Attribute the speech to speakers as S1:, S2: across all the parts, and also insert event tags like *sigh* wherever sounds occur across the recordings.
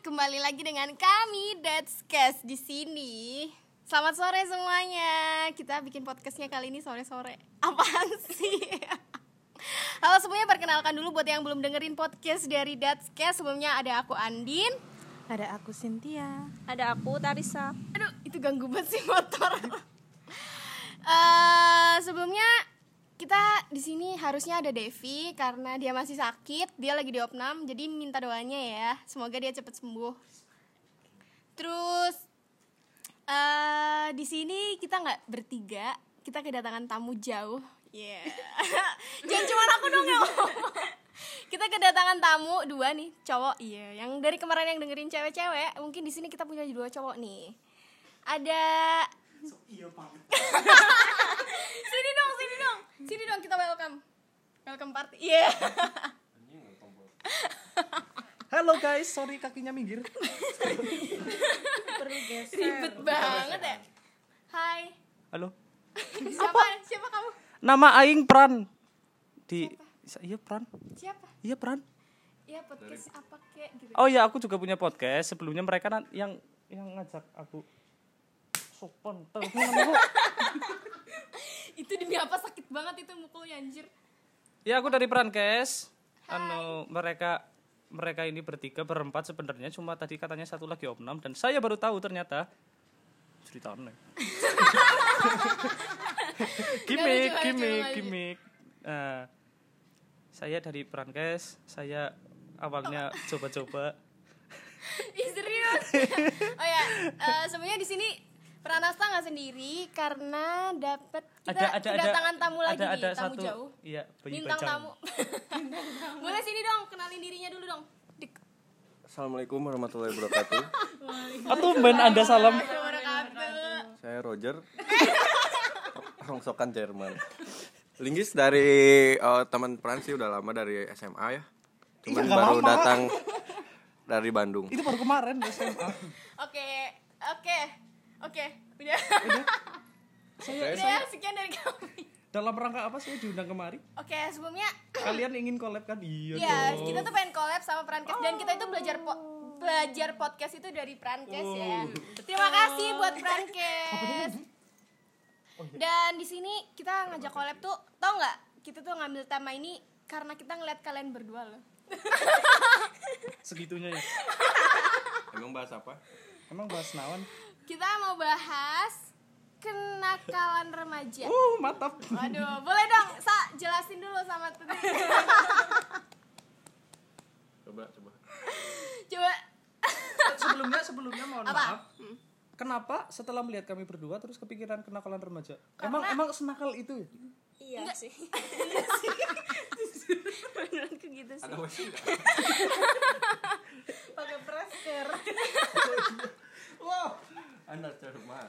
S1: kembali lagi dengan kami That's Cast di sini. Selamat sore semuanya. Kita bikin podcastnya kali ini sore-sore. Apaan *laughs* sih? Halo semuanya, perkenalkan dulu buat yang belum dengerin podcast dari That's Cast. Sebelumnya ada aku Andin.
S2: Ada aku Cynthia.
S3: Ada aku *laughs* Tarisa.
S1: Aduh, itu ganggu banget sih motor. *laughs* Eh, sebelumnya kita di sini harusnya ada Devi karena dia masih sakit, dia lagi di opnam, jadi minta doanya ya. Semoga dia cepat sembuh. Terus eh di sini kita nggak bertiga, kita kedatangan tamu jauh. Yeah. *laughs* Jangan cuma aku dong yang ngomong. Kita kedatangan tamu dua nih, cowok. Iya, yang dari kemarin yang dengerin cewek-cewek, mungkin di sini kita punya dua cowok nih. Ada sini dong, sini dong. Sini dong kita welcome. Welcome party. Iya.
S4: Halo guys, sorry kakinya minggir.
S2: Perlu geser.
S1: Ribet banget ya. *laughs* Hai.
S4: Halo.
S1: Siapa? Siapa kamu?
S4: Nama aing Pran. Di Sa- Iya Pran.
S1: Siapa?
S4: Iya Pran.
S1: Ya podcast apa kek gitu.
S4: Oh iya, aku juga punya podcast. Sebelumnya mereka nan- yang yang ngajak aku sopan tau apa namanya, Bu?
S1: Itu demi apa sakit banget itu mukulnya anjir.
S4: Ya aku dari Prankes. Anu mereka mereka ini bertiga berempat sebenarnya cuma tadi katanya satu lagi opnam dan saya baru tahu ternyata
S1: *laughs*
S4: ceritanya. gimik,
S1: lucu,
S4: gimik,
S1: lucu.
S4: gimik. Nah, saya dari Prankes, saya awalnya
S1: Oh.
S4: coba-coba.
S1: *laughs* Ih, serius. oh ya, eh, sebenarnya di sini Pranasta nggak sendiri karena dapat kita
S4: Ada ada ada
S1: kedatangan tamu lagi
S4: ada,
S1: nih,
S4: ada
S1: tamu
S4: satu,
S1: jauh.
S4: Iya, bayi
S1: Bintang
S4: bajang.
S1: tamu. *laughs* Boleh sini dong, kenalin dirinya dulu dong. Dik.
S5: Assalamualaikum warahmatullahi *laughs* wabarakatuh.
S4: Ah, tumben Anda
S1: *laughs*
S4: salam.
S5: Saya Roger. Rongsokan Jerman. Linggis dari eh, teman Pran sih udah lama dari SMA ya. Cuman
S4: Iya, nggak
S5: baru
S4: lama.
S5: datang dari Bandung.
S4: Itu baru kemarin SMA.
S1: Oke, oke, oke. Udah. *laughs*
S4: saya,
S1: Udah ya, sekian dari kami.
S4: dalam rangka apa saya diundang kemari?
S1: Oke, sebelumnya
S4: Kalian ingin collab kan? Iya
S1: ya
S4: dong.
S1: kita tuh pengen collab sama Prankes dan kita itu belajar po- belajar podcast itu dari Prankes ya. Terima kasih buat Prankes. Dan di sini kita ngajak collab tuh, tau nggak? Kita tuh ngambil tema ini karena kita ngeliat kalian berdua loh.
S4: Segitunya ya.
S5: Emang bahas apa?
S4: Emang bahas nawan?
S1: Kita mau bahas kenakalan remaja.
S4: Uh, mantap.
S1: Waduh, boleh dong, Sa, jelasin dulu sama Tuti.
S5: Coba coba.
S1: Coba
S4: sebelumnya sebelumnya mohon
S1: Apa? Hmm.
S4: maaf. Kenapa setelah melihat kami berdua terus kepikiran kenakalan remaja? Emang emang senakal itu? ya?
S3: Iya sih.
S1: beneran kayak gitu sih.
S5: Ada masih nggak?
S2: Pakai presker.
S4: *laughs* Wow.
S5: Anda cermat.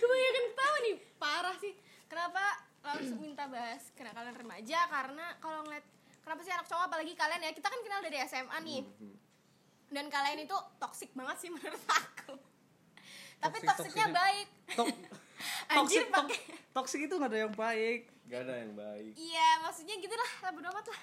S1: Kebanyakan ketawa nih, parah sih. Kenapa langsung minta bahas kenakalan remaja? Karena kalau ngeliat kenapa sih anak cowok apalagi kalian ya? Kita kan kenal dari SMA nih.
S4: Hmm,
S1: Dan kalian itu toksik banget sih *laughs* menurut aku. Tapi
S4: Toxic,
S1: toksiknya
S4: toxicnya-
S1: baik.
S4: Tok
S1: Anjir
S4: toxic, tok-
S1: pakai.
S4: toxic itu nggak ada yang baik.
S5: Gak ada yang baik.
S1: Iya, maksudnya gitu lah, lah, bodo amat lah.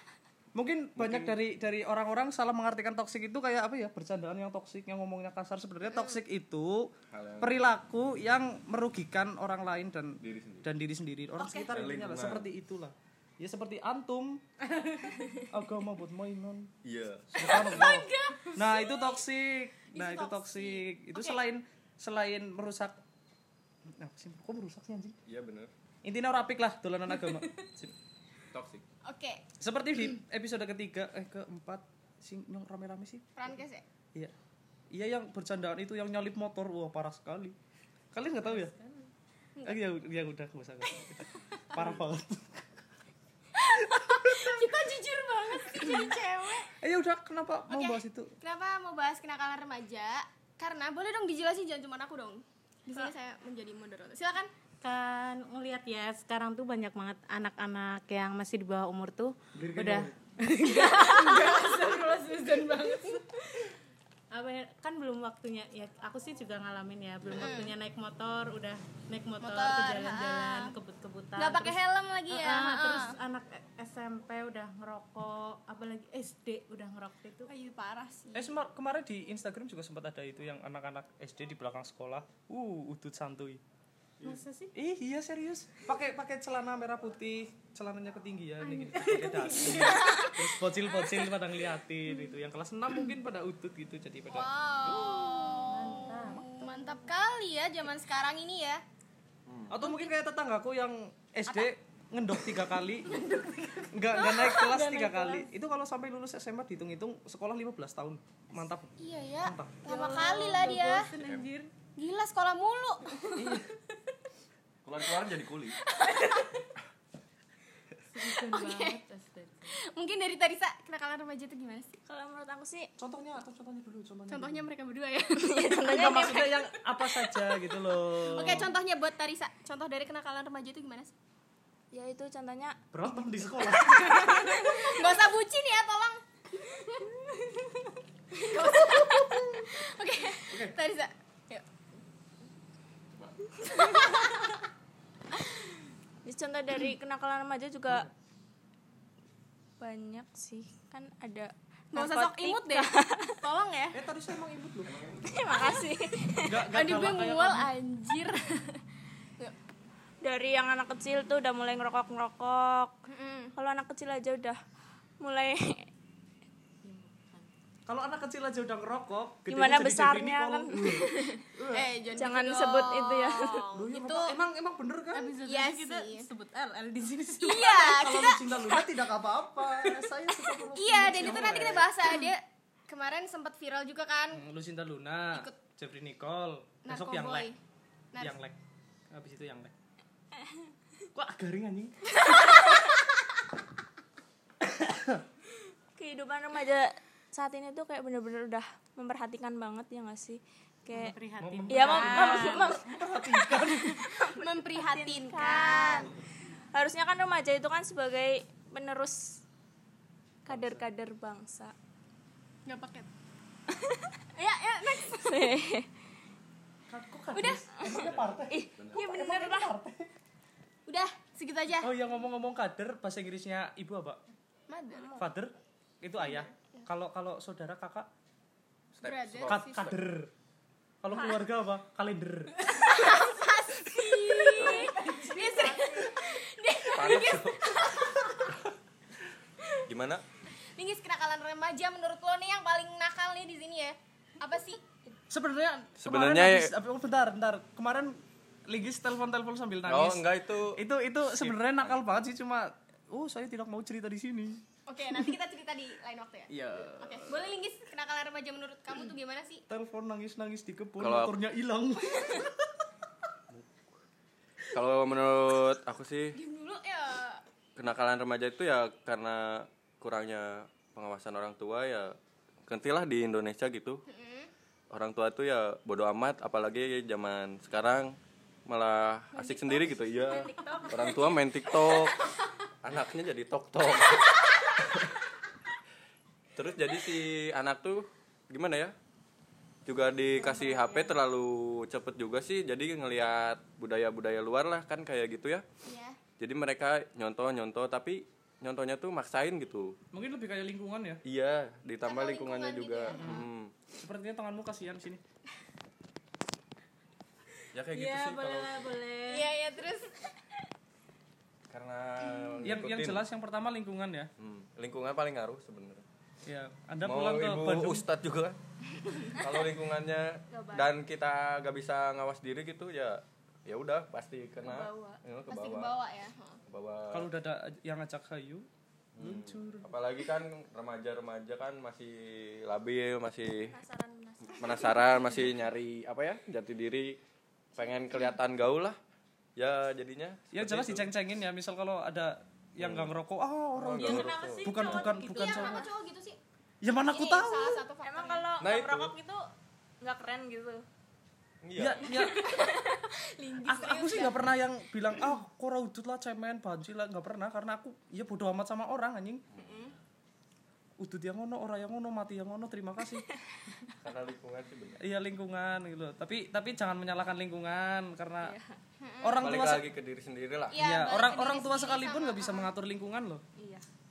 S4: Mungkin banyak dari dari orang-orang salah mengartikan toksik itu kayak apa ya? Bercandaan yang toksik, yang ngomongnya kasar. Sebenarnya
S5: Hmm.
S4: toksik itu perilaku yang merugikan orang lain dan
S5: Diri sendiri.
S4: dan diri sendiri. Orang sekitar intinya lah seperti itulah. Ya seperti antum. Agama buat mainan.
S5: Iya.
S4: Subhanallah. Nah, itu toksik. Nah, itu toksik. Itu selain selain merusak Nah, sih, kok merusak sih anjing?
S5: Iya bener.
S4: Intinya rapik lah dolanan agama. Sip.
S5: Toxic.
S1: Oke,
S4: Seperti di episode ketiga eh keempat sing yang rame-rame sih.
S1: Prankes
S4: *laughs*
S1: ya.
S4: Iya. Iya yang bercandaan itu yang nyalip motor. Wah, parah sekali. Kalian nggak tahu ya? Eh, ya, ya udah nggak usah. nggak usah. Parah banget.
S1: Kita jujur banget sih jadi cewek.
S4: Eh ya udah kenapa mau
S1: Oke.
S4: bahas itu?
S1: Kenapa mau bahas kenakalan remaja? Karena boleh dong dijelasin jangan cuma aku dong. Di
S4: Ah.
S1: sini saya menjadi moderator. Silakan.
S2: Kan ngelihat ya sekarang tuh banyak banget anak-anak yang masih di bawah umur tuh udah apa ya, kan belum waktunya ya aku sih juga ngalamin ya belum waktunya naik motor udah naik motor,
S1: Motor,
S2: ke jalan-jalan
S1: ah.
S2: kebut-kebutan
S1: nggak pakai
S2: terus-
S1: helm lagi ya.
S2: Ah,
S1: ha-ha.
S2: terus anak SMP udah ngerokok, apalagi SD udah ngerokok itu.
S1: Ayu parah sih.
S4: Eh semar- kemarin di Instagram juga sempat ada itu yang anak-anak SD di belakang sekolah. Uh, udut santuy.
S2: Masa sih?
S4: Ih, iya serius. Pakai pakai celana merah putih, celananya ketinggian gitu. Pakai *laughs* dasi. Terus bocil-bocil pada ngeliatin itu. Yang kelas 6 mungkin pada utut gitu jadi pada
S1: Wow. Oh. Mantap kali ya zaman sekarang ini ya.
S4: Atau mungkin kayak tetanggaku yang SD ngendok tiga *laughs* kali nggak nggak *laughs* naik kelas tiga kali itu kalau sampai lulus SMA dihitung-hitung sekolah 15 tahun mantap
S1: Iya ya.
S4: Mantap.
S1: Lama kali lah dia.
S2: Bosen Kan anjir.
S1: Gila sekolah mulu.
S5: Keluar-keluar jadi kuli.
S2: Bosen banget. astaga.
S1: *laughs* Mungkin dari Tarisa kenakalan remaja itu gimana sih?
S3: Kalau menurut aku sih
S4: contohnya atau contohnya dulu contohnya
S1: Contohnya mereka berdua ya.
S3: Iya,
S4: Enggak
S3: gitu.
S4: maksudnya yang apa saja gitu
S1: *laughs*
S4: loh
S1: Oke, contohnya buat Tarisa. Contoh dari kenakalan remaja itu gimana *laughs* sih?
S3: ya itu contohnya
S4: berantem di sekolah
S1: Gak usah bucin ya, tolong. Nggak usah. *laughs* Oke, Tarisa. Yuk.
S3: ya contoh dari kenakalan remaja juga banyak sih kan ada
S1: Gak usah sok
S3: narkotik. Iya,
S1: imut
S3: *laughs*
S1: deh. Tolong ya.
S4: eh tadi saya emang imut loh
S3: makasih
S4: nggak nggak
S1: Tadi gue
S4: galak kayak
S1: mual anjir.
S3: dari yang anak kecil tuh udah mulai ngerokok ngerokok kalau anak kecil aja udah
S1: *laughs*
S3: mulai
S4: kalau anak kecil aja udah ngerokok gedenya
S3: Gimana
S4: jadi
S3: besarnya
S4: definitol.
S3: kan?
S4: Uh,
S1: eh,
S3: Jangan
S1: gitu
S3: sebut
S1: dong.
S3: itu ya. *laughs*
S4: lu ini
S1: Itu
S4: rokok. iya, emang emang bener kan
S2: Habis itu
S1: Iya
S2: kita *laughs*
S1: sih.
S2: sebut LL di sini.
S1: Iya,
S4: kalau lu cinta luna tidak apa-apa saya suka merokok.
S1: iya dan itu nanti kita bahas ya. dia kemarin sempat viral juga
S4: *laughs*
S1: kan
S4: Hmm, lu cinta luna
S1: Ikut.
S4: Jeffrey Nicole besok yang
S1: Narkoboy.
S4: lek yang lek habis itu yang lek kok garing anjing
S3: kehidupan remaja saat ini tuh kayak bener-bener udah memperhatikan banget ya nggak sih kayak
S2: Prihatin.
S3: ya mem- mem- mem-
S1: memprihatinkan
S3: harusnya kan remaja itu kan sebagai penerus kader-kader bangsa
S1: nggak paket
S3: *laughs* ya ya
S1: *laughs*
S3: next
S1: udah
S3: ya bener lah
S1: udah segitu aja
S4: oh iya ngomong-ngomong kader bahasa Inggrisnya ibu apa
S1: *laughs* mother
S4: father itu ayah kalau kalau saudara kakak
S5: Step,
S1: Iya. Brother.
S5: step.
S4: Kad- kader. Kalau keluarga apa? Kalender.
S1: Dia sering-
S5: Panas. *laughs* Gimana?
S1: Linggis kenakalan remaja menurut lo nih yang paling nakal nih di sini ya apa sih
S4: Sebenarnya
S5: Sebenarnya-
S4: kemarin habis- oh, bentar, bentar. Kemarin Ligis telepon-telepon sambil
S5: Oh,
S4: nangis.
S5: enggak itu.
S4: Itu itu sebenarnya nakal banget sih cuma oh saya tidak mau cerita di sini.
S1: oke nanti kita cerita di lain waktu ya
S4: Iya.
S1: oke boleh Linggis kenakalan remaja menurut kamu tuh gimana sih
S4: Telepon nangis-nangis di kebun,
S5: Kalau-
S4: motornya
S5: *laughs*
S4: hilang.
S5: Kalau menurut aku sih
S1: Diam dulu ya
S5: kenakalan remaja itu ya karena kurangnya pengawasan orang tua ya kentilah di Indonesia gitu orang tua tuh ya bodoh amat apalagi zaman sekarang malah asik sendiri gitu iya orang tua main TikTok anaknya jadi tok tok terus jadi si anak tuh gimana ya juga dikasih HP terlalu cepet juga sih jadi ngelihat budaya-budaya luar lah kan kayak gitu ya
S1: iya
S5: jadi mereka nyontoh nyontoh tapi nyontohnya tuh maksain gitu
S4: Mungkin lebih kayak lingkungan ya.
S5: iya ditambah
S1: Sama
S5: lingkungannya
S1: lingkungan
S5: juga
S1: gitu
S5: Mm.
S4: Sepertinya tanganmu kasihan sini.
S5: ya kayak gitu
S2: Ya
S5: sih
S2: boleh
S5: kalau
S2: lah boleh.
S1: iya iya terus
S5: karena *clears throat* ya.
S4: Yang yang
S5: ngikutin.
S4: jelas yang pertama lingkungan ya.
S5: Mm. lingkungan paling ngaruh sebenarnya
S4: Ya, Anda
S5: mau
S4: pulang ke
S5: ibu
S4: Bandung.
S5: ustadz *laughs* juga kan? kalau lingkungannya dan kita gak bisa ngawas diri gitu ya ya udah pasti kena Ya, ke
S1: pasti ke
S5: bawah
S1: bawah ya
S5: ke bawah
S4: Kalau udah ada yang ngajak kayu, luncur.
S5: apalagi kan remaja-remaja kan masih labil masih penasaran masih nyari apa ya jati diri pengen kelihatan gaul lah ya jadinya
S4: Ya jelas diceng-cengin ya, misal kalau ada yang nggak ngerokok, ah orang
S5: Orang Oh. nggak
S4: itu
S5: ngerokok.
S4: bukan bukan bukan
S1: iya
S4: saya.
S1: kenapa cowok gitu sih
S4: Ya mana aku tahu.
S1: salah satu faktornya.
S3: emang kalau
S5: Nah,
S3: nggak
S5: itu.
S3: merokok
S4: gitu?
S3: itu nggak keren gitu
S4: Ya, ya.
S5: iya
S4: aku, aku sih nggak pernah yang bilang ah kok iya, raudut lah cemen banci lah nggak pernah karena aku ya bodo amat sama orang anjing udut yang ngono orang yang ngono mati yang ngono terima kasih
S5: karena lingkungan sih benar
S4: iya lingkungan gitu loh. tapi tapi jangan menyalahkan lingkungan karena orang
S5: balik
S4: tua se-
S5: lagi ke diri sendiri lah
S4: Iya, orang orang tua sekalipun nggak bisa mengatur lingkungan loh.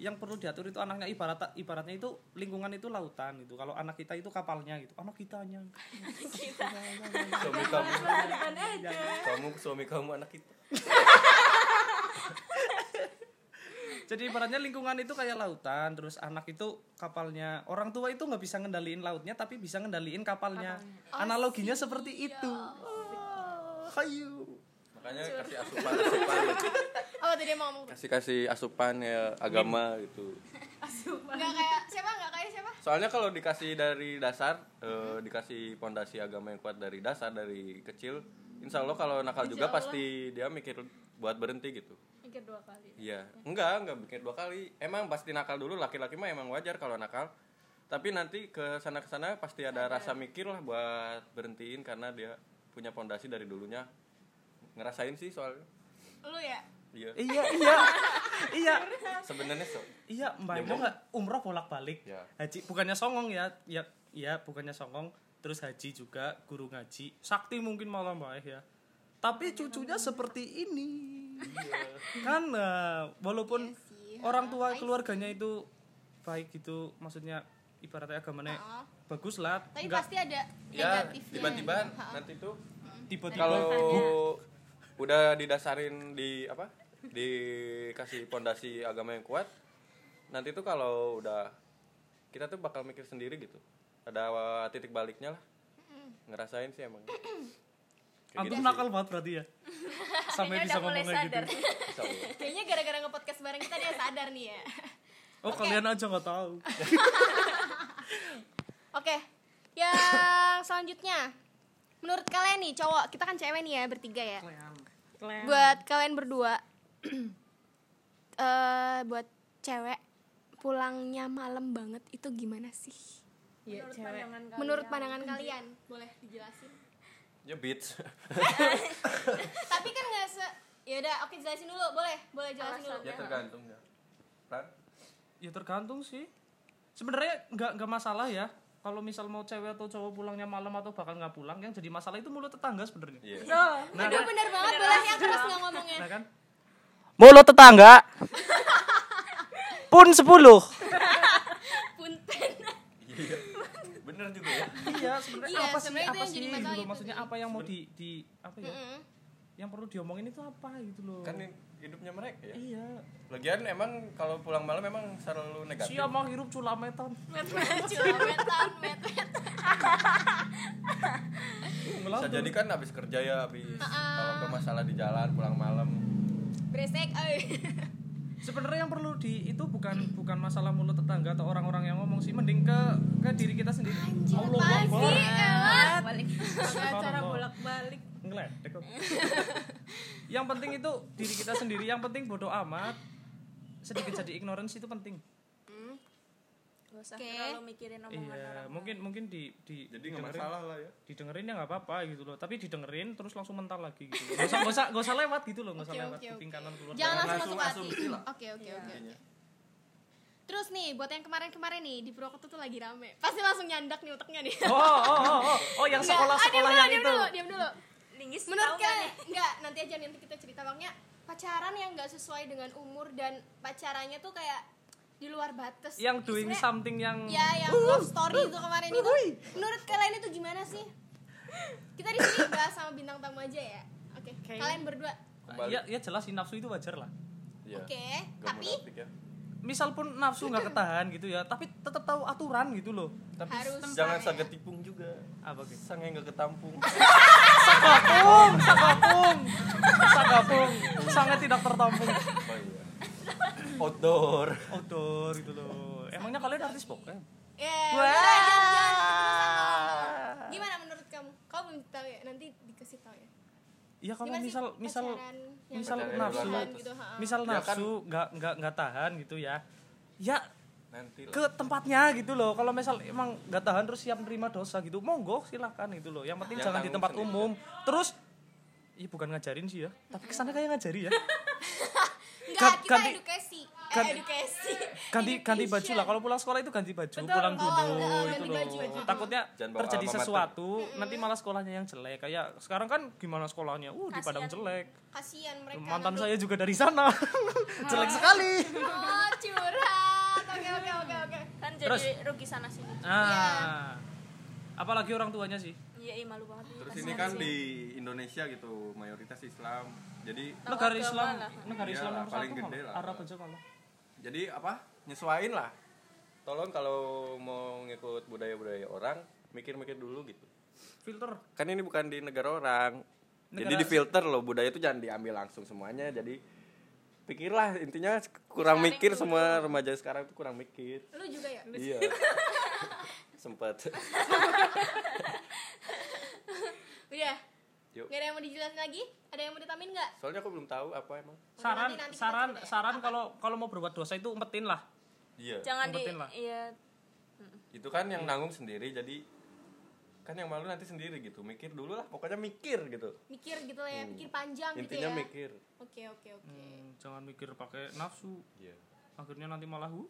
S4: Yang perlu diatur itu anaknya ibarat ibaratnya itu lingkungan itu lautan gitu. Kalau anak kita itu kapalnya gitu. Anak kitanya.
S5: suami kamu kamu suami kamu anak kita
S4: Jadi ibaratnya lingkungan itu kayak lautan, terus anak itu kapalnya. Orang tua itu nggak bisa ngendaliin lautnya tapi bisa ngendaliin kapalnya. Analoginya seperti itu. Oh, Hayu.
S5: makanya kasih asupan asupan
S4: *laughs*
S1: Apa Oh, tadi yang mau ngomong?
S5: kasih kasih asupan ya agama gitu
S1: Enggak kayak siapa? Enggak kayak siapa?
S5: soalnya kalau dikasih dari dasar eh, dikasih pondasi agama yang kuat dari dasar dari kecil insya Allah kalau nakal juga pasti dia mikir buat berhenti gitu
S3: mikir dua kali
S5: Iya, enggak, enggak mikir dua kali. Emang pasti nakal dulu, laki-laki mah emang wajar kalau nakal. Tapi nanti ke sana ke sana pasti ada rasa mikir lah buat berhentiin karena dia punya pondasi dari dulunya. Ngerasain sih soalnya.
S1: Lu ya?
S4: *laughs*
S5: Iya.
S4: Iya, iya. iya.
S5: Sebenarnya so.
S4: Iya, Mbak Ega nggak umroh bolak-balik.
S5: Ya.
S4: Haji bukannya songong ya. Ya, ya bukannya songong. Terus haji juga, guru ngaji. Sakti mungkin malah Mbak Ega ya. Tapi cucunya seperti ini.
S5: Iya.
S4: kan eh,
S3: Iya
S4: walaupun orang tua keluarganya itu baik gitu, maksudnya ibaratnya agamanya
S3: Oh.
S4: bagus lah.
S1: Tapi
S4: nggak-
S1: pasti ada
S5: Ya,
S1: negatifnya.
S5: tiba-tiba nanti tuh
S4: tiba-tiba
S5: kalau udah didasarin di apa? Dikasih pondasi agama yang kuat, nanti tuh kalau udah kita tuh bakal mikir sendiri gitu. Ada titik baliknya lah. Ngerasain sih emang. Kayak
S4: antum
S5: gitu
S4: nakal banget berarti
S3: *laughs*
S4: ya.
S3: Kayaknya
S4: Sampai bisa
S3: udah mulai
S4: ngomong kayak gitu.
S3: sadar
S5: Insya Allah.
S1: Kayaknya gara-gara nge-podcast bareng kita dia sadar nih ya. *laughs*
S4: Oh, kalian aja nggak tahu.
S1: Oke. Yang selanjutnya. Menurut kalian nih cowok, kita kan cewek nih ya bertiga ya.
S2: Kalian-
S1: Buat kalian berdua. *clears throat* eh buat cewek pulangnya malam banget itu gimana sih?
S2: ya, cewek
S1: Menurut pandangan kalian, boleh dijelasin?
S5: Ya beats.
S1: Tapi kan nggak se Ya udah, oke jelasin dulu, boleh, boleh jelasin dulu.
S5: ya tergantung ya. Ran?
S4: ya tergantung sih sebenarnya nggak nggak masalah ya kalau misal mau cewek atau cowok pulangnya malam atau bahkan nggak pulang yang jadi masalah itu mulut tetangga sebenarnya
S5: Iya.
S4: nah
S1: Aduh,
S4: kan,
S1: bener banget, boleh yang terus nggak ngomongnya.
S4: nah kan mulut *laughs* tetangga pun 10
S1: Punten. *laughs*
S5: Bener juga ya.
S4: iya sebenarnya
S1: Iya,
S4: apa sih
S1: sebenarnya itu
S4: apa
S1: yang
S4: sih
S1: jadi
S4: gitu
S1: masalah
S4: loh
S1: itu
S4: maksudnya apa yang mau di di apa ya
S1: Mm.
S4: yang perlu diomongin itu apa gitu loh
S5: Kan ini hidupnya mereka ya.
S4: iya
S5: Lagian emang kalau pulang malam emang selalu negatif.
S4: siapa mau hirup culametan
S1: Culametan, metan.
S5: Bisa jadi kan habis kerja ya habis kalau ada masalah di jalan pulang malam.
S1: Bresek, eh. oi.
S4: sebenarnya yang perlu di itu bukan bukan masalah mulut tetangga atau orang-orang yang ngomong sih mending ke ke diri kita sendiri Allah Akbar.
S1: Pasti, elah.
S4: acara bolak-balik ngeledek kok. *laughs* yang penting itu diri kita sendiri yang penting bodoh amat sedikit jadi ignorance itu penting
S3: gak usah
S1: Oke.
S3: terlalu mikirin omongan
S4: iya mungkin mungkin di di didengerin-
S5: lah ya.
S4: didengerin ya nggak apa-apa gitu loh tapi didengerin terus langsung mental lagi gitu loh. gak usah gak usah, gak usah lewat gitu loh gak usah lewat kuping kanan keluar
S1: Jangan
S5: Jangan
S1: langsung masuk hati.
S5: langsung asumsi lah.
S1: Oke, oke, oke. oke. Terus nih, buat yang kemarin-kemarin nih di Purwokerto tuh lagi rame. Pasti langsung nyandak nih otaknya nih.
S4: oh oh oh oh oh yang
S1: Enggak.
S4: sekolah
S1: Ah, diam
S4: sekolah
S1: dulu,
S4: yang
S1: diam
S4: itu
S1: dulu, diam dulu.
S3: linggis
S1: Menurut
S3: tahu nggak
S1: kalian enggak, nanti aja nanti kita cerita bangnya pacaran yang nggak sesuai dengan umur dan pacarannya tuh kayak di luar batas.
S4: yang doing
S1: Sebenarnya-
S4: something yang
S1: Ya, yang love story itu kemarin itu. Menurut kalian itu gimana sih? Kita di sini bahas sama bintang tamu aja ya. Oke. Kalian berdua.
S5: Kembali.
S4: ya ya jelas sih nafsu itu wajar lah
S5: Iya.
S1: Oke.
S5: Nggak
S1: Tapi
S5: munafik ya.
S4: misal pun nafsu
S1: *laughs*
S4: nggak ketahan gitu ya tapi tetap tahu aturan gitu loh
S5: Tapi
S1: Harus tempatnya.
S5: jangan sangat tipung juga.
S4: apa gitu
S5: Sange nggak ketampung.
S4: Sakapung, sakapung, sakapung, sangat tidak tertampung.
S5: *laughs* oh iya. *coughs* Outdoor.
S4: Outdoor gitu loh. Emangnya kalian artis
S5: Eh.
S4: pokoknya?
S1: ya udah, jangan- jangan keterusan ngomong. Gimana menurut kamu? Kamu belum tahu ya, nanti dikasih tahu ya.
S4: Iya kalau
S1: Gimana sih
S4: misal misal
S1: pacaran yang
S4: misal
S5: Pacaran
S4: nafsu,
S5: yang
S1: bertahan gitu, ha.
S4: misal
S5: Ya kan-
S4: nafsu nggak nggak nggak tahan gitu ya. Ya
S5: Nanti lah.
S4: ke tempatnya gitu loh. Kalau misal emang nggak tahan terus siap nerima dosa gitu, monggo silahkan gitu loh. Yang penting
S5: Yang
S4: jangan di
S5: Ya, tanggung
S4: tempat
S5: sendiri.
S4: umum. Terus Iya bukan ngajarin sih ya, tapi kesana kayak ngajari ya.
S1: Enggak,
S4: Ga-
S1: kita
S4: ganti-
S1: edukasi.
S4: Kan-
S3: eh, edukasi
S4: ganti ganti baju lah kalau pulang sekolah itu ganti baju pulang dulu
S1: enggak,
S4: itu
S1: oh, ganti
S4: loh
S1: baju, baju.
S4: takutnya
S5: Jangan bawa
S4: terjadi
S5: alma mater.
S4: sesuatu nanti malah sekolahnya yang jelek kayak sekarang kan gimana sekolahnya uh di Padang jelek
S1: kasihan mereka Ah.
S4: mantan
S1: nanti-
S4: saya juga dari sana *laughs* jelek sekali
S1: oh curhat oke oke oke oke
S3: kan jadi
S4: Terus?
S3: rugi sana sini
S1: Iya.
S4: ah apalagi orang tuanya sih
S3: iya ih, malu banget
S5: Terus ini kan di Indonesia gitu mayoritas Islam. Jadi
S4: negara
S3: agama
S4: Islam
S3: lah.
S4: negara Islam
S5: Iyalah,
S4: nomor
S5: Iya, paling
S4: satu
S5: gede
S4: malah.
S5: lah.
S4: Arab aja malah
S5: jadi apa? Nyesuain lah. Tolong kalau mau ngikut budaya-budaya orang, mikir-mikir dulu gitu.
S4: filter
S5: Kan ini bukan di negara orang. Jadi
S4: Negara-
S5: di filter loh budaya itu jangan diambil langsung semuanya. Jadi pikirlah intinya kurang mikir
S1: gitu.
S5: semua remaja sekarang tuh kurang mikir.
S1: lu juga ya
S5: Iya. *laughs* Sempet.
S1: udah
S5: Yuk.
S1: nggak ada yang mau dijelasin lagi ada yang mau ditambahin nggak
S5: Soalnya aku belum tahu apa emang.
S4: saran
S1: nanti kita
S4: saran
S1: coba ya.
S4: saran kalau kalau mau berbuat dosa itu umpetin lah
S5: Iya.
S3: jangan di
S4: Ngumpetin lah.
S3: iya
S5: Itu kan yang nanggung sendiri jadi kan yang malu nanti sendiri gitu. Mikir dulu lah, pokoknya mikir gitu.
S1: mikir gitu lah ya mikir panjang gitu ya
S5: Intinya mikir.
S1: oke oke oke
S4: Hmm, jangan mikir pakai nafsu
S5: Iya.
S4: akhirnya nanti malah uh,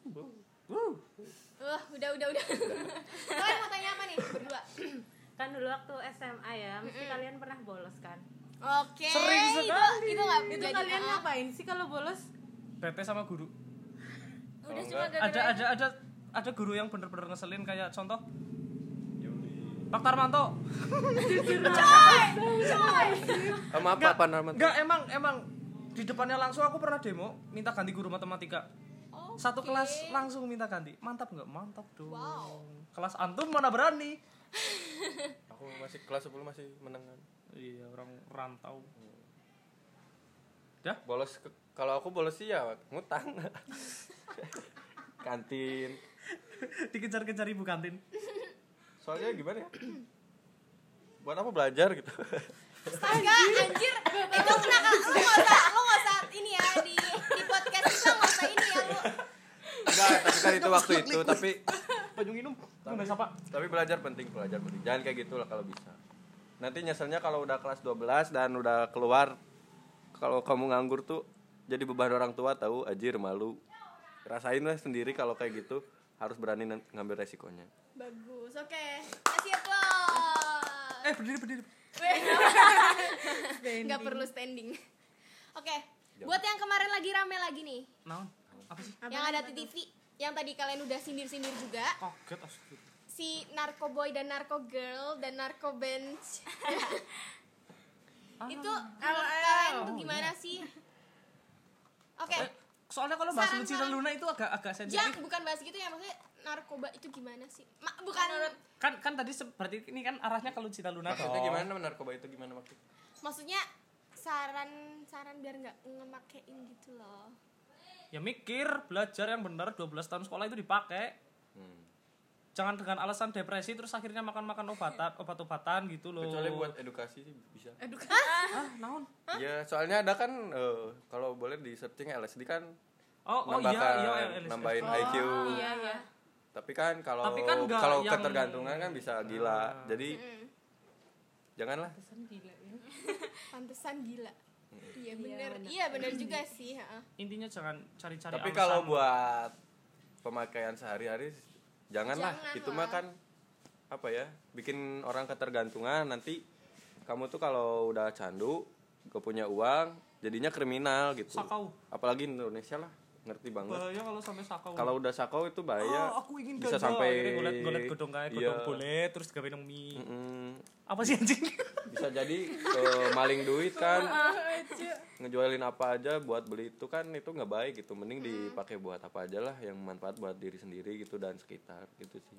S1: wah udah udah *laughs* udah kalian mau tanya apa nih berdua
S2: kan dulu waktu SMA ya mesti kalian pernah bolos kan
S1: oke
S4: Sering sekali.
S1: itu itu nggak
S2: itu
S1: jadi
S2: kalian
S1: ah.
S2: ngapain sih kalau bolos
S4: bete sama guru
S3: udah cuma
S4: ada
S3: gara-gara
S4: ada ada ada guru yang bener-bener ngeselin kayak contoh Pak Tarmanto
S5: Sama apa apa nama?
S4: enggak emang emang di depannya langsung aku pernah demo minta ganti guru matematika satu kelas langsung minta ganti mantap nggak mantap dong kelas antum mana berani
S5: Aku masih kelas 10 masih menang kan.
S4: iya orang rantau dah
S5: Bolos ke- kalau aku bolos sih ya ngutang. Kantin.
S4: *laughs* dikejar-kejar ibu kantin
S5: Soalnya gimana ya? Buat apa belajar
S4: *laughs*
S5: gitu?
S1: Astaga, anjir. Itu kenapa lu enggak usah lu enggak usah ini ya di di podcast kita enggak usah ini ya lu.
S5: Enggak, tapi kan itu waktu itu, tapi
S4: Tanjung Inum Tunggu, siapa
S5: tapi belajar penting, belajar penting. Jangan kayak gitu lah kalau bisa. Nanti nyeselnya kalau udah kelas 12 dan udah keluar kalau kamu nganggur tuh jadi beban orang tua tahu, ajir malu. Rasain lah sendiri kalau kayak gitu harus berani nan- ngambil resikonya.
S1: Bagus. Oke. Kasih applause.
S4: eh berdiri berdiri
S1: *laughs* Enggak perlu standing. Oke. Buat yang kemarin lagi rame lagi nih,
S4: nah apa sih
S1: yang ada di TV, yang tadi kalian udah sindir-sindir juga,
S4: kaget astagfirullah.
S1: si Narco Boy dan Narco Girl dan Narco Bench. itu menurut kalian tuh gimana sih? Oke.
S4: soalnya kalau bahas
S1: Saran,
S4: Lucinta
S1: saran.
S4: Luna itu agak agak
S1: Jangan
S4: sensitif
S1: bukan bahas gitu ya maksudnya narkoba itu gimana sih? Ma, bukan
S4: kan kan tadi se- berarti ini kan arahnya ke Lucinta Luna toh
S5: Maksudnya gimana narkoba itu gimana maksudnya?
S1: maksudnya saran saran biar nggak ngemakein gitu loh.
S4: *laughs* ya mikir belajar yang benar 12 tahun sekolah itu dipakai
S5: Hmm.
S4: jangan dengan alasan depresi terus akhirnya makan-makan obatan obat-obatan gitu loh
S5: Kecuali buat edukasi sih bisa.
S4: ah naon
S5: Ya, soalnya ada kan eh, kalau boleh di searching LSD kan
S4: oh oh iya
S5: nambahkan-
S4: iya LSD.
S5: nambahin IQ.
S2: iya iya
S5: Tapi kan kalau
S4: Tapi kan nggak
S5: kalau
S4: yang- Ah.
S5: ketergantungan kan bisa gila. Jadi janganlah.
S1: Pantesan gila. Iya bener, iya bener juga sih. heeh.
S4: intinya jangan cari-cari
S5: Tapi
S4: alasan.
S5: kalau buat pemakaian sehari-hari janganlah.
S1: Jangan
S5: Itu mah
S1: lah.
S5: kan apa ya? Bikin orang ketergantungan nanti kamu tuh kalau udah candu, gak punya uang, jadinya kriminal gitu.
S4: Sakau.
S5: Apalagi Indonesia lah, ngerti banget.
S4: bahaya kalau sampai sakau
S5: kalau udah sakau itu bahaya.
S4: Oh, aku ingin
S5: bisa
S4: ganja. Akhirnya
S5: sampai
S4: golet-golet godong kae, godong
S5: Iya.
S4: boleh terus gawe nang mie.
S5: Mm,
S4: Apa sih anjing?
S5: bisa jadi eh, maling duit kan ngejualin apa aja buat beli itu kan itu nggak baik gitu mending dipakai buat apa aja lah yang manfaat buat diri sendiri gitu dan sekitar gitu sih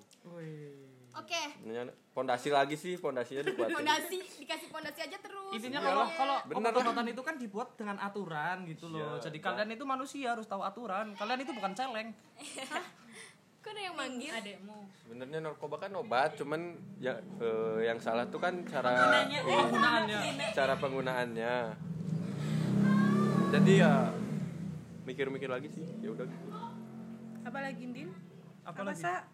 S1: Oke,
S5: Sebenarnya pondasi lagi sih pondasinya
S1: *laughs*
S5: dibuat
S1: pondasi dikasih pondasi aja terus.
S4: Intinya kalau kalau
S5: Bener.
S4: obat-obatan itu kan dibuat dengan aturan gitu loh.
S5: Iya,
S4: Jadi
S5: Bang.
S4: kalian itu manusia harus tahu aturan. Kalian itu bukan celeng.
S1: Kok ada yang manggil?
S2: adekmu
S5: sebenarnya narkoba kan obat cuman ya eh, yang salah tuh kan cara
S4: Penggunaannya.
S5: cara penggunaannya jadi ya mikir-mikir lagi sih ya udah gitu
S2: apa lagi Din?
S4: Apa lagi?
S2: Sa?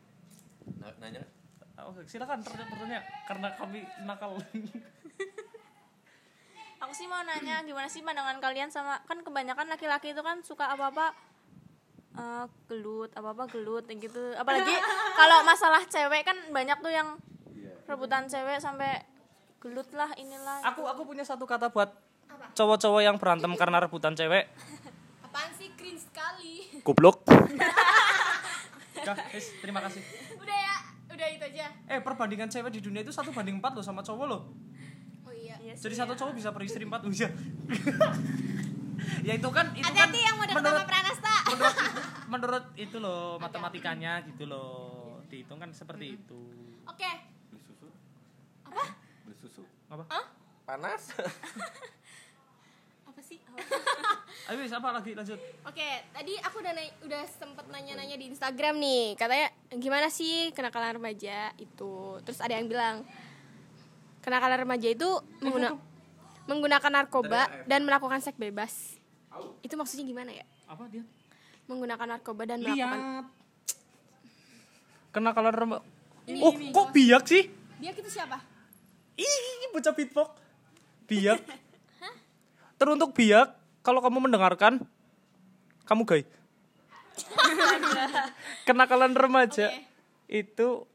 S5: Nah, nanya
S4: Oke, Oh, silakan pertanya- pertanyaan karena kami nakal.
S3: aku sih mau nanya gimana sih pandangan kalian sama kan kebanyakan laki-laki itu kan suka apa-apa eh, gelut apa apa gelut yang gitu
S1: *laughs*
S3: apalagi kalau masalah cewek kan banyak tuh yang rebutan cewek sampai gelut lah inilah
S4: Aku aku punya satu kata buat cowok-cowok yang berantem karena rebutan cewek.
S1: Apaan sih cringe sekali. *laughs*
S5: Kublok.
S4: Dah, wis, terima kasih.
S1: udah ya, udah itu aja.
S4: Eh, perbandingan cewek di dunia itu satu banding empat loh sama cowok loh.
S1: Oh iya.
S3: Iya sih,
S4: Jadi
S3: ya.
S4: satu cowok bisa beristri empat loh ya. *laughs* ya itu kan itu kan
S1: Hati-hati yang mau deket sama
S4: menurut,
S1: Pranasta.
S4: menurut menurut itu loh matematikanya gitu loh. Dihitung kan seperti itu.
S1: Oke.
S5: Beli susu. Apa? Beli susu.
S4: Apa?
S5: Panas. *laughs*
S1: Apa sih?
S4: Ayo wis, apa lagi lanjut?
S1: Oke, tadi aku udah nai- udah sempet nanya-nanya di Instagram nih. Katanya gimana sih kenakalan remaja itu? Terus ada yang bilang kenakalan remaja itu mengguna- menggunakan narkoba dan melakukan seks bebas. Itu maksudnya gimana ya?
S4: Apa dia?
S1: Menggunakan narkoba dan melakukan
S4: Lihat. Kena kalau rem- Oh, kok biak sih?
S1: Dia itu siapa?
S4: Ih, bocah beatbox. Biak. Teruntuk biak, kalau kamu mendengarkan, kamu gay. Kenakalan remaja itu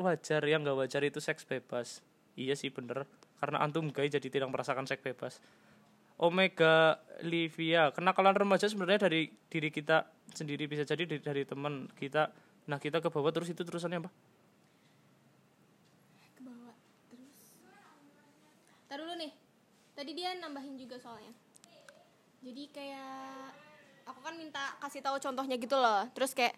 S4: wajar yang nggak wajar itu seks bebas. Iya sih bener. Karena antum gay jadi tidak merasakan seks bebas. Omega Livia, kenakalan remaja sebenarnya dari diri kita sendiri bisa jadi dari, dari teman kita. Nah kita ke bawah terus itu terusannya apa?
S1: Taruh dulu nih. Tadi dia nambahin juga soalnya. Jadi kayak aku kan minta kasih tahu contohnya gitu loh. Terus kayak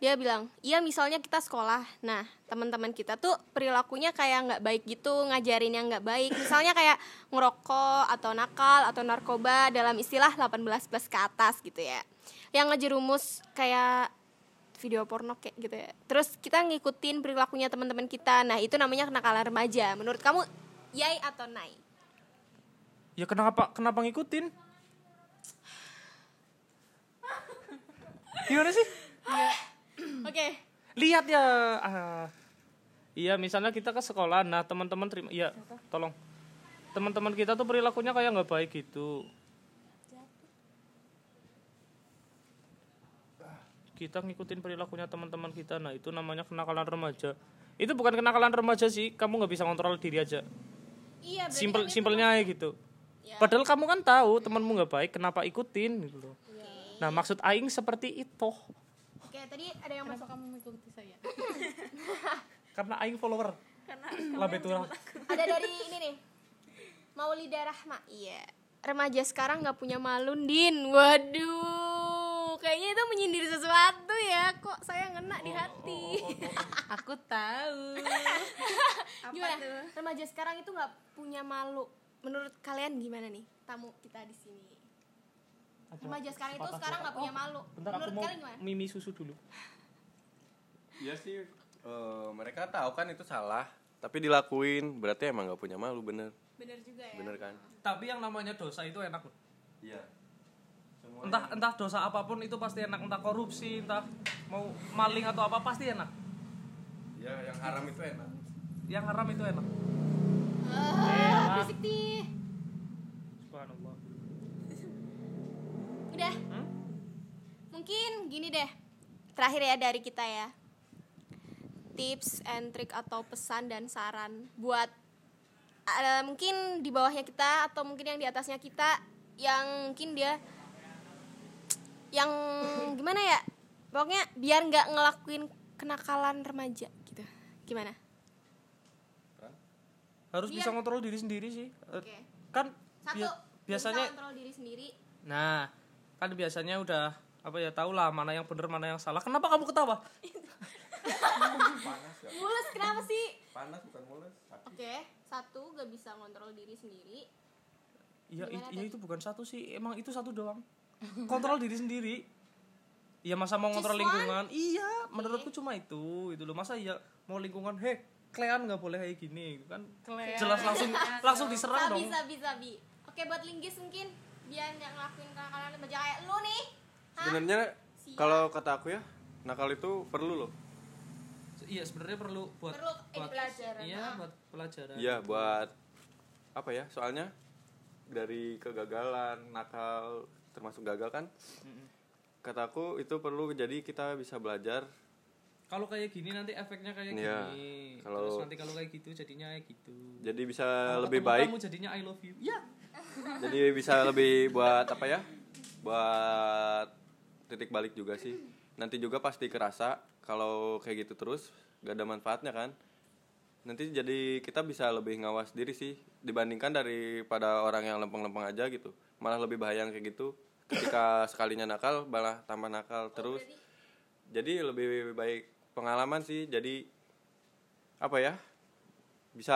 S1: dia bilang, "Iya, misalnya kita sekolah. Nah, teman-teman kita tuh perilakunya kayak nggak baik gitu, ngajarin yang nggak baik. Misalnya kayak ngerokok atau nakal atau narkoba dalam istilah 18 plus ke atas gitu ya. Yang ngejerumus kayak video porno kayak gitu ya. Terus kita ngikutin perilakunya teman-teman kita. Nah, itu namanya kenakalan remaja. Menurut kamu yai atau nai?
S4: Ya kenapa kenapa ngikutin? Gimana sih?
S1: Oke.
S4: Lihat ya. ah. Iya, misalnya kita ke sekolah, nah teman-teman terima, iya, tolong. Teman-teman kita tuh perilakunya kayak nggak baik gitu. Kita ngikutin perilakunya teman-teman kita, nah itu namanya kenakalan remaja. Itu bukan kenakalan remaja sih, kamu nggak bisa kontrol diri aja.
S1: Iya, berarti
S4: Simpel
S1: kan itu-
S4: simpelnya aja gitu.
S1: Ya.
S4: Padahal kamu kan tahu temanmu nggak baik, kenapa ikutin gitu loh. Nah, maksud aing seperti itu.
S1: Oke, tadi ada yang masuk.
S2: kamu mengikuti saya
S4: Karena aing follower. *clears throat* Karena Labetura.
S1: ada dari ini nih. Maulida Rahma. Iya. Remaja sekarang nggak punya malu, Din. Waduh. Kayaknya itu menyindir sesuatu ya. Kok saya ngena di hati.
S2: aku tahu
S1: gimana? Remaja sekarang itu nggak punya malu. Menurut kalian gimana nih? Tamu kita di sini. Remaja sekarang itu sekarang nggak punya malu.
S4: Oh, Bentar aku
S1: Menurut
S4: mau
S1: kalian gimana?
S4: mimi susu dulu.
S5: Iya sih. eh, mereka tahu kan itu salah, tapi dilakuin berarti emang nggak punya malu bener.
S1: Bener juga ya.
S5: Bener kan?
S4: Tapi yang namanya dosa itu enak loh.
S5: Iya.
S4: Entah entah dosa apapun itu pasti enak, entah korupsi, entah mau maling atau apa pasti enak.
S5: Iya, yang haram itu enak.
S4: Yang haram itu enak.
S1: Ah, berisik nih.
S4: Subhanallah.
S1: *laughs*
S4: Hmm?
S1: Udah. Mungkin gini deh. Terakhir ya dari kita ya. Tips and trick atau pesan dan saran buat eh, mungkin di bawahnya kita atau mungkin yang di atasnya kita yang mungkin dia yang gimana ya? Pokoknya biar nggak ngelakuin kenakalan remaja gitu. Gimana?
S4: Harus
S1: Iya.
S4: bisa ngontrol diri sendiri sih. Eh,
S1: Oke.
S4: Kan
S1: Satu,
S4: bia- biasanya
S1: bisa kontrol diri sendiri.
S4: Nah, kan biasanya udah apa ya tau lah mana yang bener mana yang salah. Kenapa kamu ketawa?
S1: Mulus kenapa sih?
S5: Panas bukan mulus.
S1: Oke, satu gak bisa ngontrol diri sendiri.
S4: Iya, it- iya, itu bukan satu sih. Emang itu satu doang. Kontrol diri sendiri. Iya masa mau ngontrol lingkungan? Iya, menurutku cuma itu. Itu loh. Masa iya mau lingkungan he klean nggak boleh kayak gini kan jelas langsung
S1: Nah,
S4: langsung diserang
S1: Sabi,
S4: dong
S1: sabi, sabi. Oke, buat linggis mungkin biar nggak ngelakuin kenakalan remaja kayak lu nih. Hah?
S5: Sebenarnya
S1: Siap.
S5: kalau kata aku ya, nakal itu perlu loh.
S4: iya sebenarnya perlu buat
S1: Perlu eh,
S4: buat
S1: pelajaran.
S4: iya buat pelajaran
S5: Iya, buat apa ya? Soalnya dari kegagalan, nakal termasuk gagal kan? kataku itu perlu jadi kita bisa belajar
S4: Kalau kayak gini nanti efeknya kayak
S5: Iya,
S4: gini.
S5: kalau-
S4: Terus nanti kalau kayak gitu jadinya kayak gitu.
S5: jadi bisa
S4: Kalau
S5: lebih
S4: ketemu
S5: baik
S4: Kamu jadinya I love you. Ya.
S5: jadi bisa lebih buat apa ya buat titik balik juga sih nanti juga pasti kerasa kalau kayak gitu terus gak ada manfaatnya kan nanti jadi kita bisa lebih ngawas diri sih dibandingkan daripada orang yang lempeng-lempeng aja gitu malah lebih bahaya yang kayak gitu ketika sekalinya nakal malah tambah nakal terus jadi lebih baik pengalaman sih jadi apa ya bisa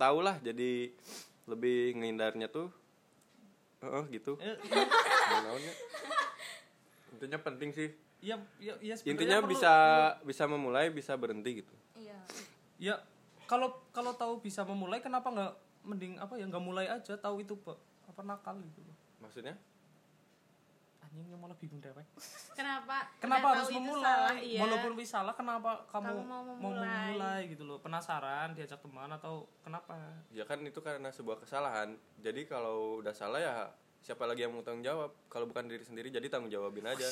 S5: tahu lah jadi lebih ngehindarnya tuh Heeh, gitu
S4: Eh,
S5: Mau naon ya? intinya penting sih
S4: Iya, iya, iya sebenarnya
S5: intinya
S4: perlu-
S5: bisa bisa memulai bisa berhenti gitu
S3: Iya.
S4: Ya, kalau kalau tahu bisa memulai kenapa nggak mending apa ya nggak mulai aja tahu itu pe- apa nakal gitu loh.
S5: maksudnya
S4: Anjingnya malah bingung dewek.
S2: Kenapa?
S4: Kenapa
S2: Udah
S4: harus
S2: tahu itu
S4: memulai?
S2: salah, iya.
S4: Walaupun bisa salah kenapa kamu,
S2: Kamu mau
S4: mau
S2: memulai.
S4: memulai gitu loh. Penasaran diajak teman atau kenapa?
S5: ya kan itu karena sebuah kesalahan jadi kalau udah salah ya siapa lagi yang mau tanggung jawab kalau bukan diri sendiri jadi tanggung jawabin aja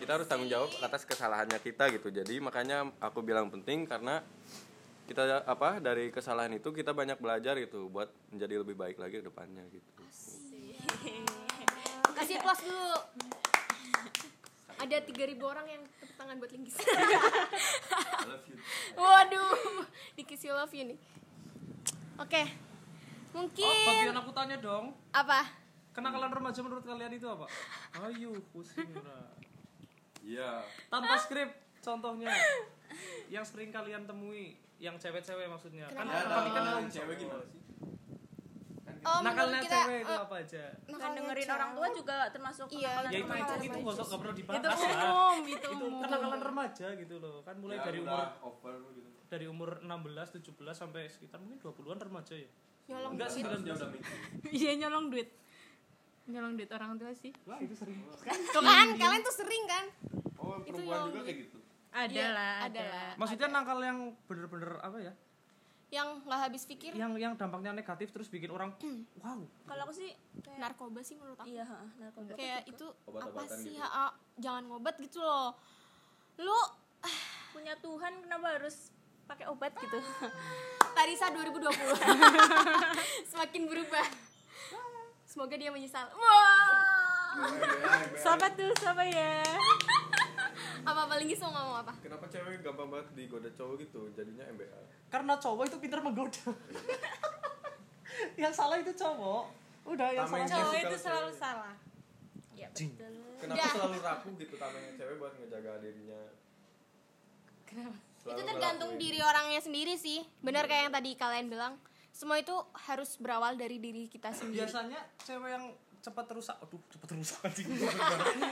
S5: kita harus tanggung jawab atas kesalahannya kita gitu jadi makanya aku bilang penting karena kita apa dari kesalahan itu kita banyak belajar gitu buat menjadi lebih baik lagi ke depannya gitu
S6: Kasih plus dulu. Ada 3000 orang yang tepuk tangan buat Linggis.
S1: *laughs* Waduh, dikis you love you nih. Oke.
S4: Oh,
S1: Mungkin
S4: Fabian aku tanya dong.
S1: apa?
S4: Kenakalan remaja menurut kalian itu apa? Ayo, kusira.
S5: iya
S4: Tanpa skrip contohnya. Yang sering kalian temui, yang cewek-cewek maksudnya. Kan tadi kan kamu cowok.
S1: Oh,
S4: Nakalnya
S1: menurut kita
S4: cewek itu
S1: eh,
S4: apa aja?
S1: nakalnya
S3: Dan dengerin
S1: cewek.
S3: orang tua juga termasuk
S1: Iya,
S3: kenakalan
S4: Ya itu
S3: remaja.
S4: itu
S1: Kenakalan remaja.
S4: itu nggak usah nggak perlu dibahas
S2: Itu
S4: lah.
S2: umum, itu
S4: Itu
S2: umum.
S4: kenakalan remaja gitu loh. Kan mulai dari umur
S5: over gitu
S4: dari umur 16, 17 sampai sekitar mungkin 20-an remaja ya.
S1: Nyolong
S4: Enggak
S5: Kan
S4: 19.
S2: Iya nyolong duit. Nyolong duit orang tua sih.
S4: Wah, itu sering.
S1: Tuh kan,
S5: Iya.
S1: kalian tuh sering kan?
S5: oh
S1: perempuan juga kayak
S5: gitu
S2: Ada
S1: Iya,
S2: lah,
S1: ada
S2: Ya,
S1: lah.
S4: Maksudnya nakal yang bener-bener apa ya?
S1: Yang nggak habis
S2: Iya.
S1: pikir
S4: Yang yang dampaknya negatif terus bikin orang
S2: Hmm.
S4: wow.
S3: Kalau aku sih kayak
S1: narkoba sih menurut aku.
S3: iya, heeh, narkoba.
S1: Kayak itu apa
S5: Obat-obatan
S1: sih?
S5: gitu.
S1: ha, jangan ngobat gitu loh. Lu
S3: punya Tuhan kenapa harus pakai obat gitu?
S1: Tarisa *laughs* 2020 semakin berubah. Semoga dia menyesal. Wah.
S2: Sahabat tuh, siapa ya?
S1: Apa paling mau ngomong apa?
S5: kenapa cewek gampang banget digoda cowok gitu jadinya MBA
S4: Karena cowok itu pintar menggoda. *laughs* yang salah itu cowok. Udah yang
S5: Tameng.
S4: salah.
S5: Cowok
S2: Cowok
S5: itu
S2: itu
S5: Kalau
S2: selalu
S5: selalu cewek.
S2: salah.
S3: Iya,
S4: Jing.
S3: betul.
S5: kenapa
S1: Udah.
S5: selalu rapuh gitu tamengnya cewek buat ngejaga dirinya
S1: itu tergantung diri orangnya sendiri sih. Benar kayak yang tadi kalian bilang. Semua itu harus berawal dari diri kita sendiri.
S4: biasanya cewek yang cepat rusak aduh cepat rusak anjing.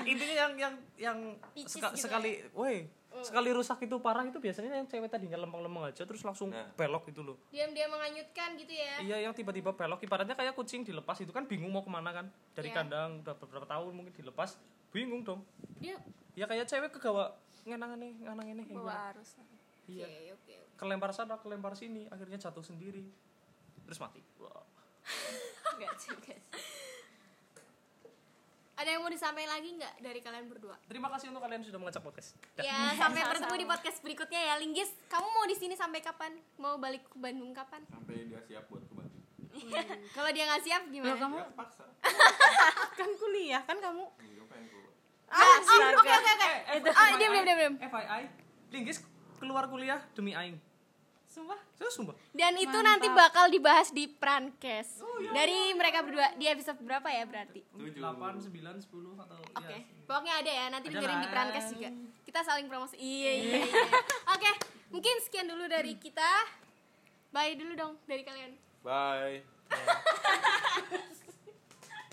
S4: intinya yang yang yang
S1: Picis
S4: seka-
S1: gitu Mm.
S4: sekali woi sekali rusak itu parah itu biasanya yang cewek tadinya lempeng-lempeng aja terus langsung
S5: Nah.
S4: belok gitu loh
S1: Diam-diam menganyutkan gitu ya.
S4: iya yang tiba-tiba belok ibaratnya kayak kucing dilepas itu kan bingung mau kemana kan dari
S1: Iya.
S4: kandang udah beberapa tahun mungkin dilepas bingung dong
S1: Dia
S4: ya kayak cewek kegawa ngenang nih ngenang ini
S3: Bawa arus.
S4: iya
S1: Oke, oke.
S4: kelempar sana kelempar sini akhirnya jatuh sendiri terus mati Wah.
S3: Enggak juga.
S1: Ada yang mau disampaikan lagi nggak dari kalian berdua?
S4: terima kasih untuk kalian sudah mengajak podcast Dah.
S1: Ya, sampai bertemu di podcast berikutnya ya, Linggis. Kamu mau di sini sampai kapan? Mau balik ke Bandung kapan?
S5: sampai dia siap buat ke Bandung
S1: Kalau dia nggak siap
S2: Loh,
S1: gimana?
S2: kamu
S5: paksa
S2: *laughs* kan kuliah kan kamu?
S5: enggak Iya, pengen keluar
S1: Ah, oh, Oke, oke,
S4: Eh,
S1: oke. Ah, diam, diam, diam, diam.
S4: FYI, Linggis keluar kuliah demi Aing.
S2: Sumpah.
S4: Saya sumpah.
S1: Dan itu nanti bakal dibahas di Prankes.
S4: Oh, iya,
S1: Dari mereka berdua di episode berapa ya berarti?
S4: 8, 9, 10 atau
S1: Oke. Pokoknya ada ya, nanti
S4: Ada
S1: dengerin di
S4: lah.
S1: Prankes juga. Kita saling promosi. Iya, iya, iya. Oke, mungkin sekian dulu dari kita. Bye dulu dong dari kalian.
S2: *laughs*
S5: bye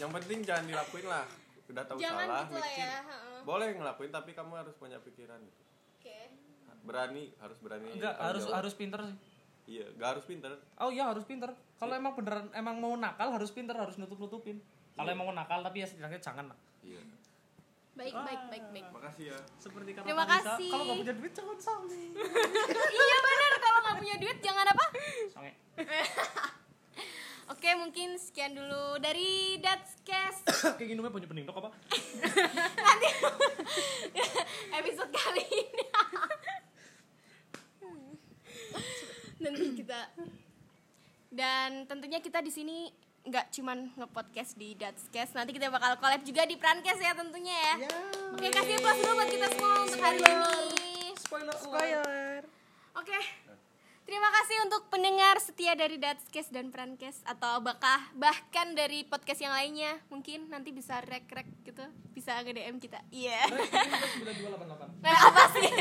S5: yang penting jangan dilakuin lah udah tahu
S1: Jangan
S5: salah
S1: gitu lah
S5: mikir
S1: ya. heeh.
S5: boleh ngelakuin tapi kamu harus punya pikiran gitu.
S1: Oke.
S5: berani harus berani
S4: Enggak,
S5: tanggung
S4: harus
S5: jawab.
S4: harus pinter sih.
S5: iya nggak harus pinter
S4: Oh iya, harus pinter. Kalau emang beneran emang mau nakal harus pinter, harus nutup-nutupin. Kalau emang mau nakal tapi ya setidaknya jangan lah.
S5: iya
S1: Baik,
S4: Ah.
S1: baik, baik, baik.
S5: makasih ya
S4: Seperti kata
S1: Terima
S4: Marisa,
S1: kasih.
S4: Kalau nggak punya duit jangan sange.
S1: iya benar kalau nggak punya duit jangan apa?
S4: Sange.
S1: Oke, Oke, mungkin sekian dulu dari Datskes
S4: kayak gini namanya punya penindok apa
S1: *laughs* episode kali ini. Nanti kita dan tentunya kita di sini nggak cuman nge-podcast di Datskes, nanti kita bakal collab juga di Prankes ya tentunya ya. Oke, kasih plus dulu buat kita semua untuk hari ini.
S4: spoiler spoiler
S1: Oke. Terima kasih untuk pendengar setia dari Datskes dan Prankes atau bakah bahkan dari podcast yang lainnya. Mungkin nanti bisa rek-rek gitu, bisa nge-DM kita. Iya. Nah, apa sih? *laughs*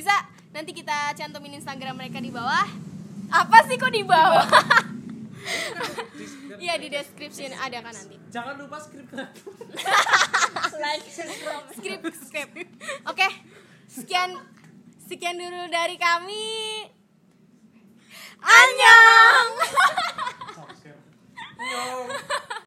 S1: bisa nanti kita cantumin Instagram mereka di bawah. Apa sih kok di bawah? Iya di description ada kan nanti.
S4: jangan lupa skrip
S1: Script, script. Oke. Sekian sekian dulu dari kami.
S4: Oh,
S1: Annyeong.
S4: no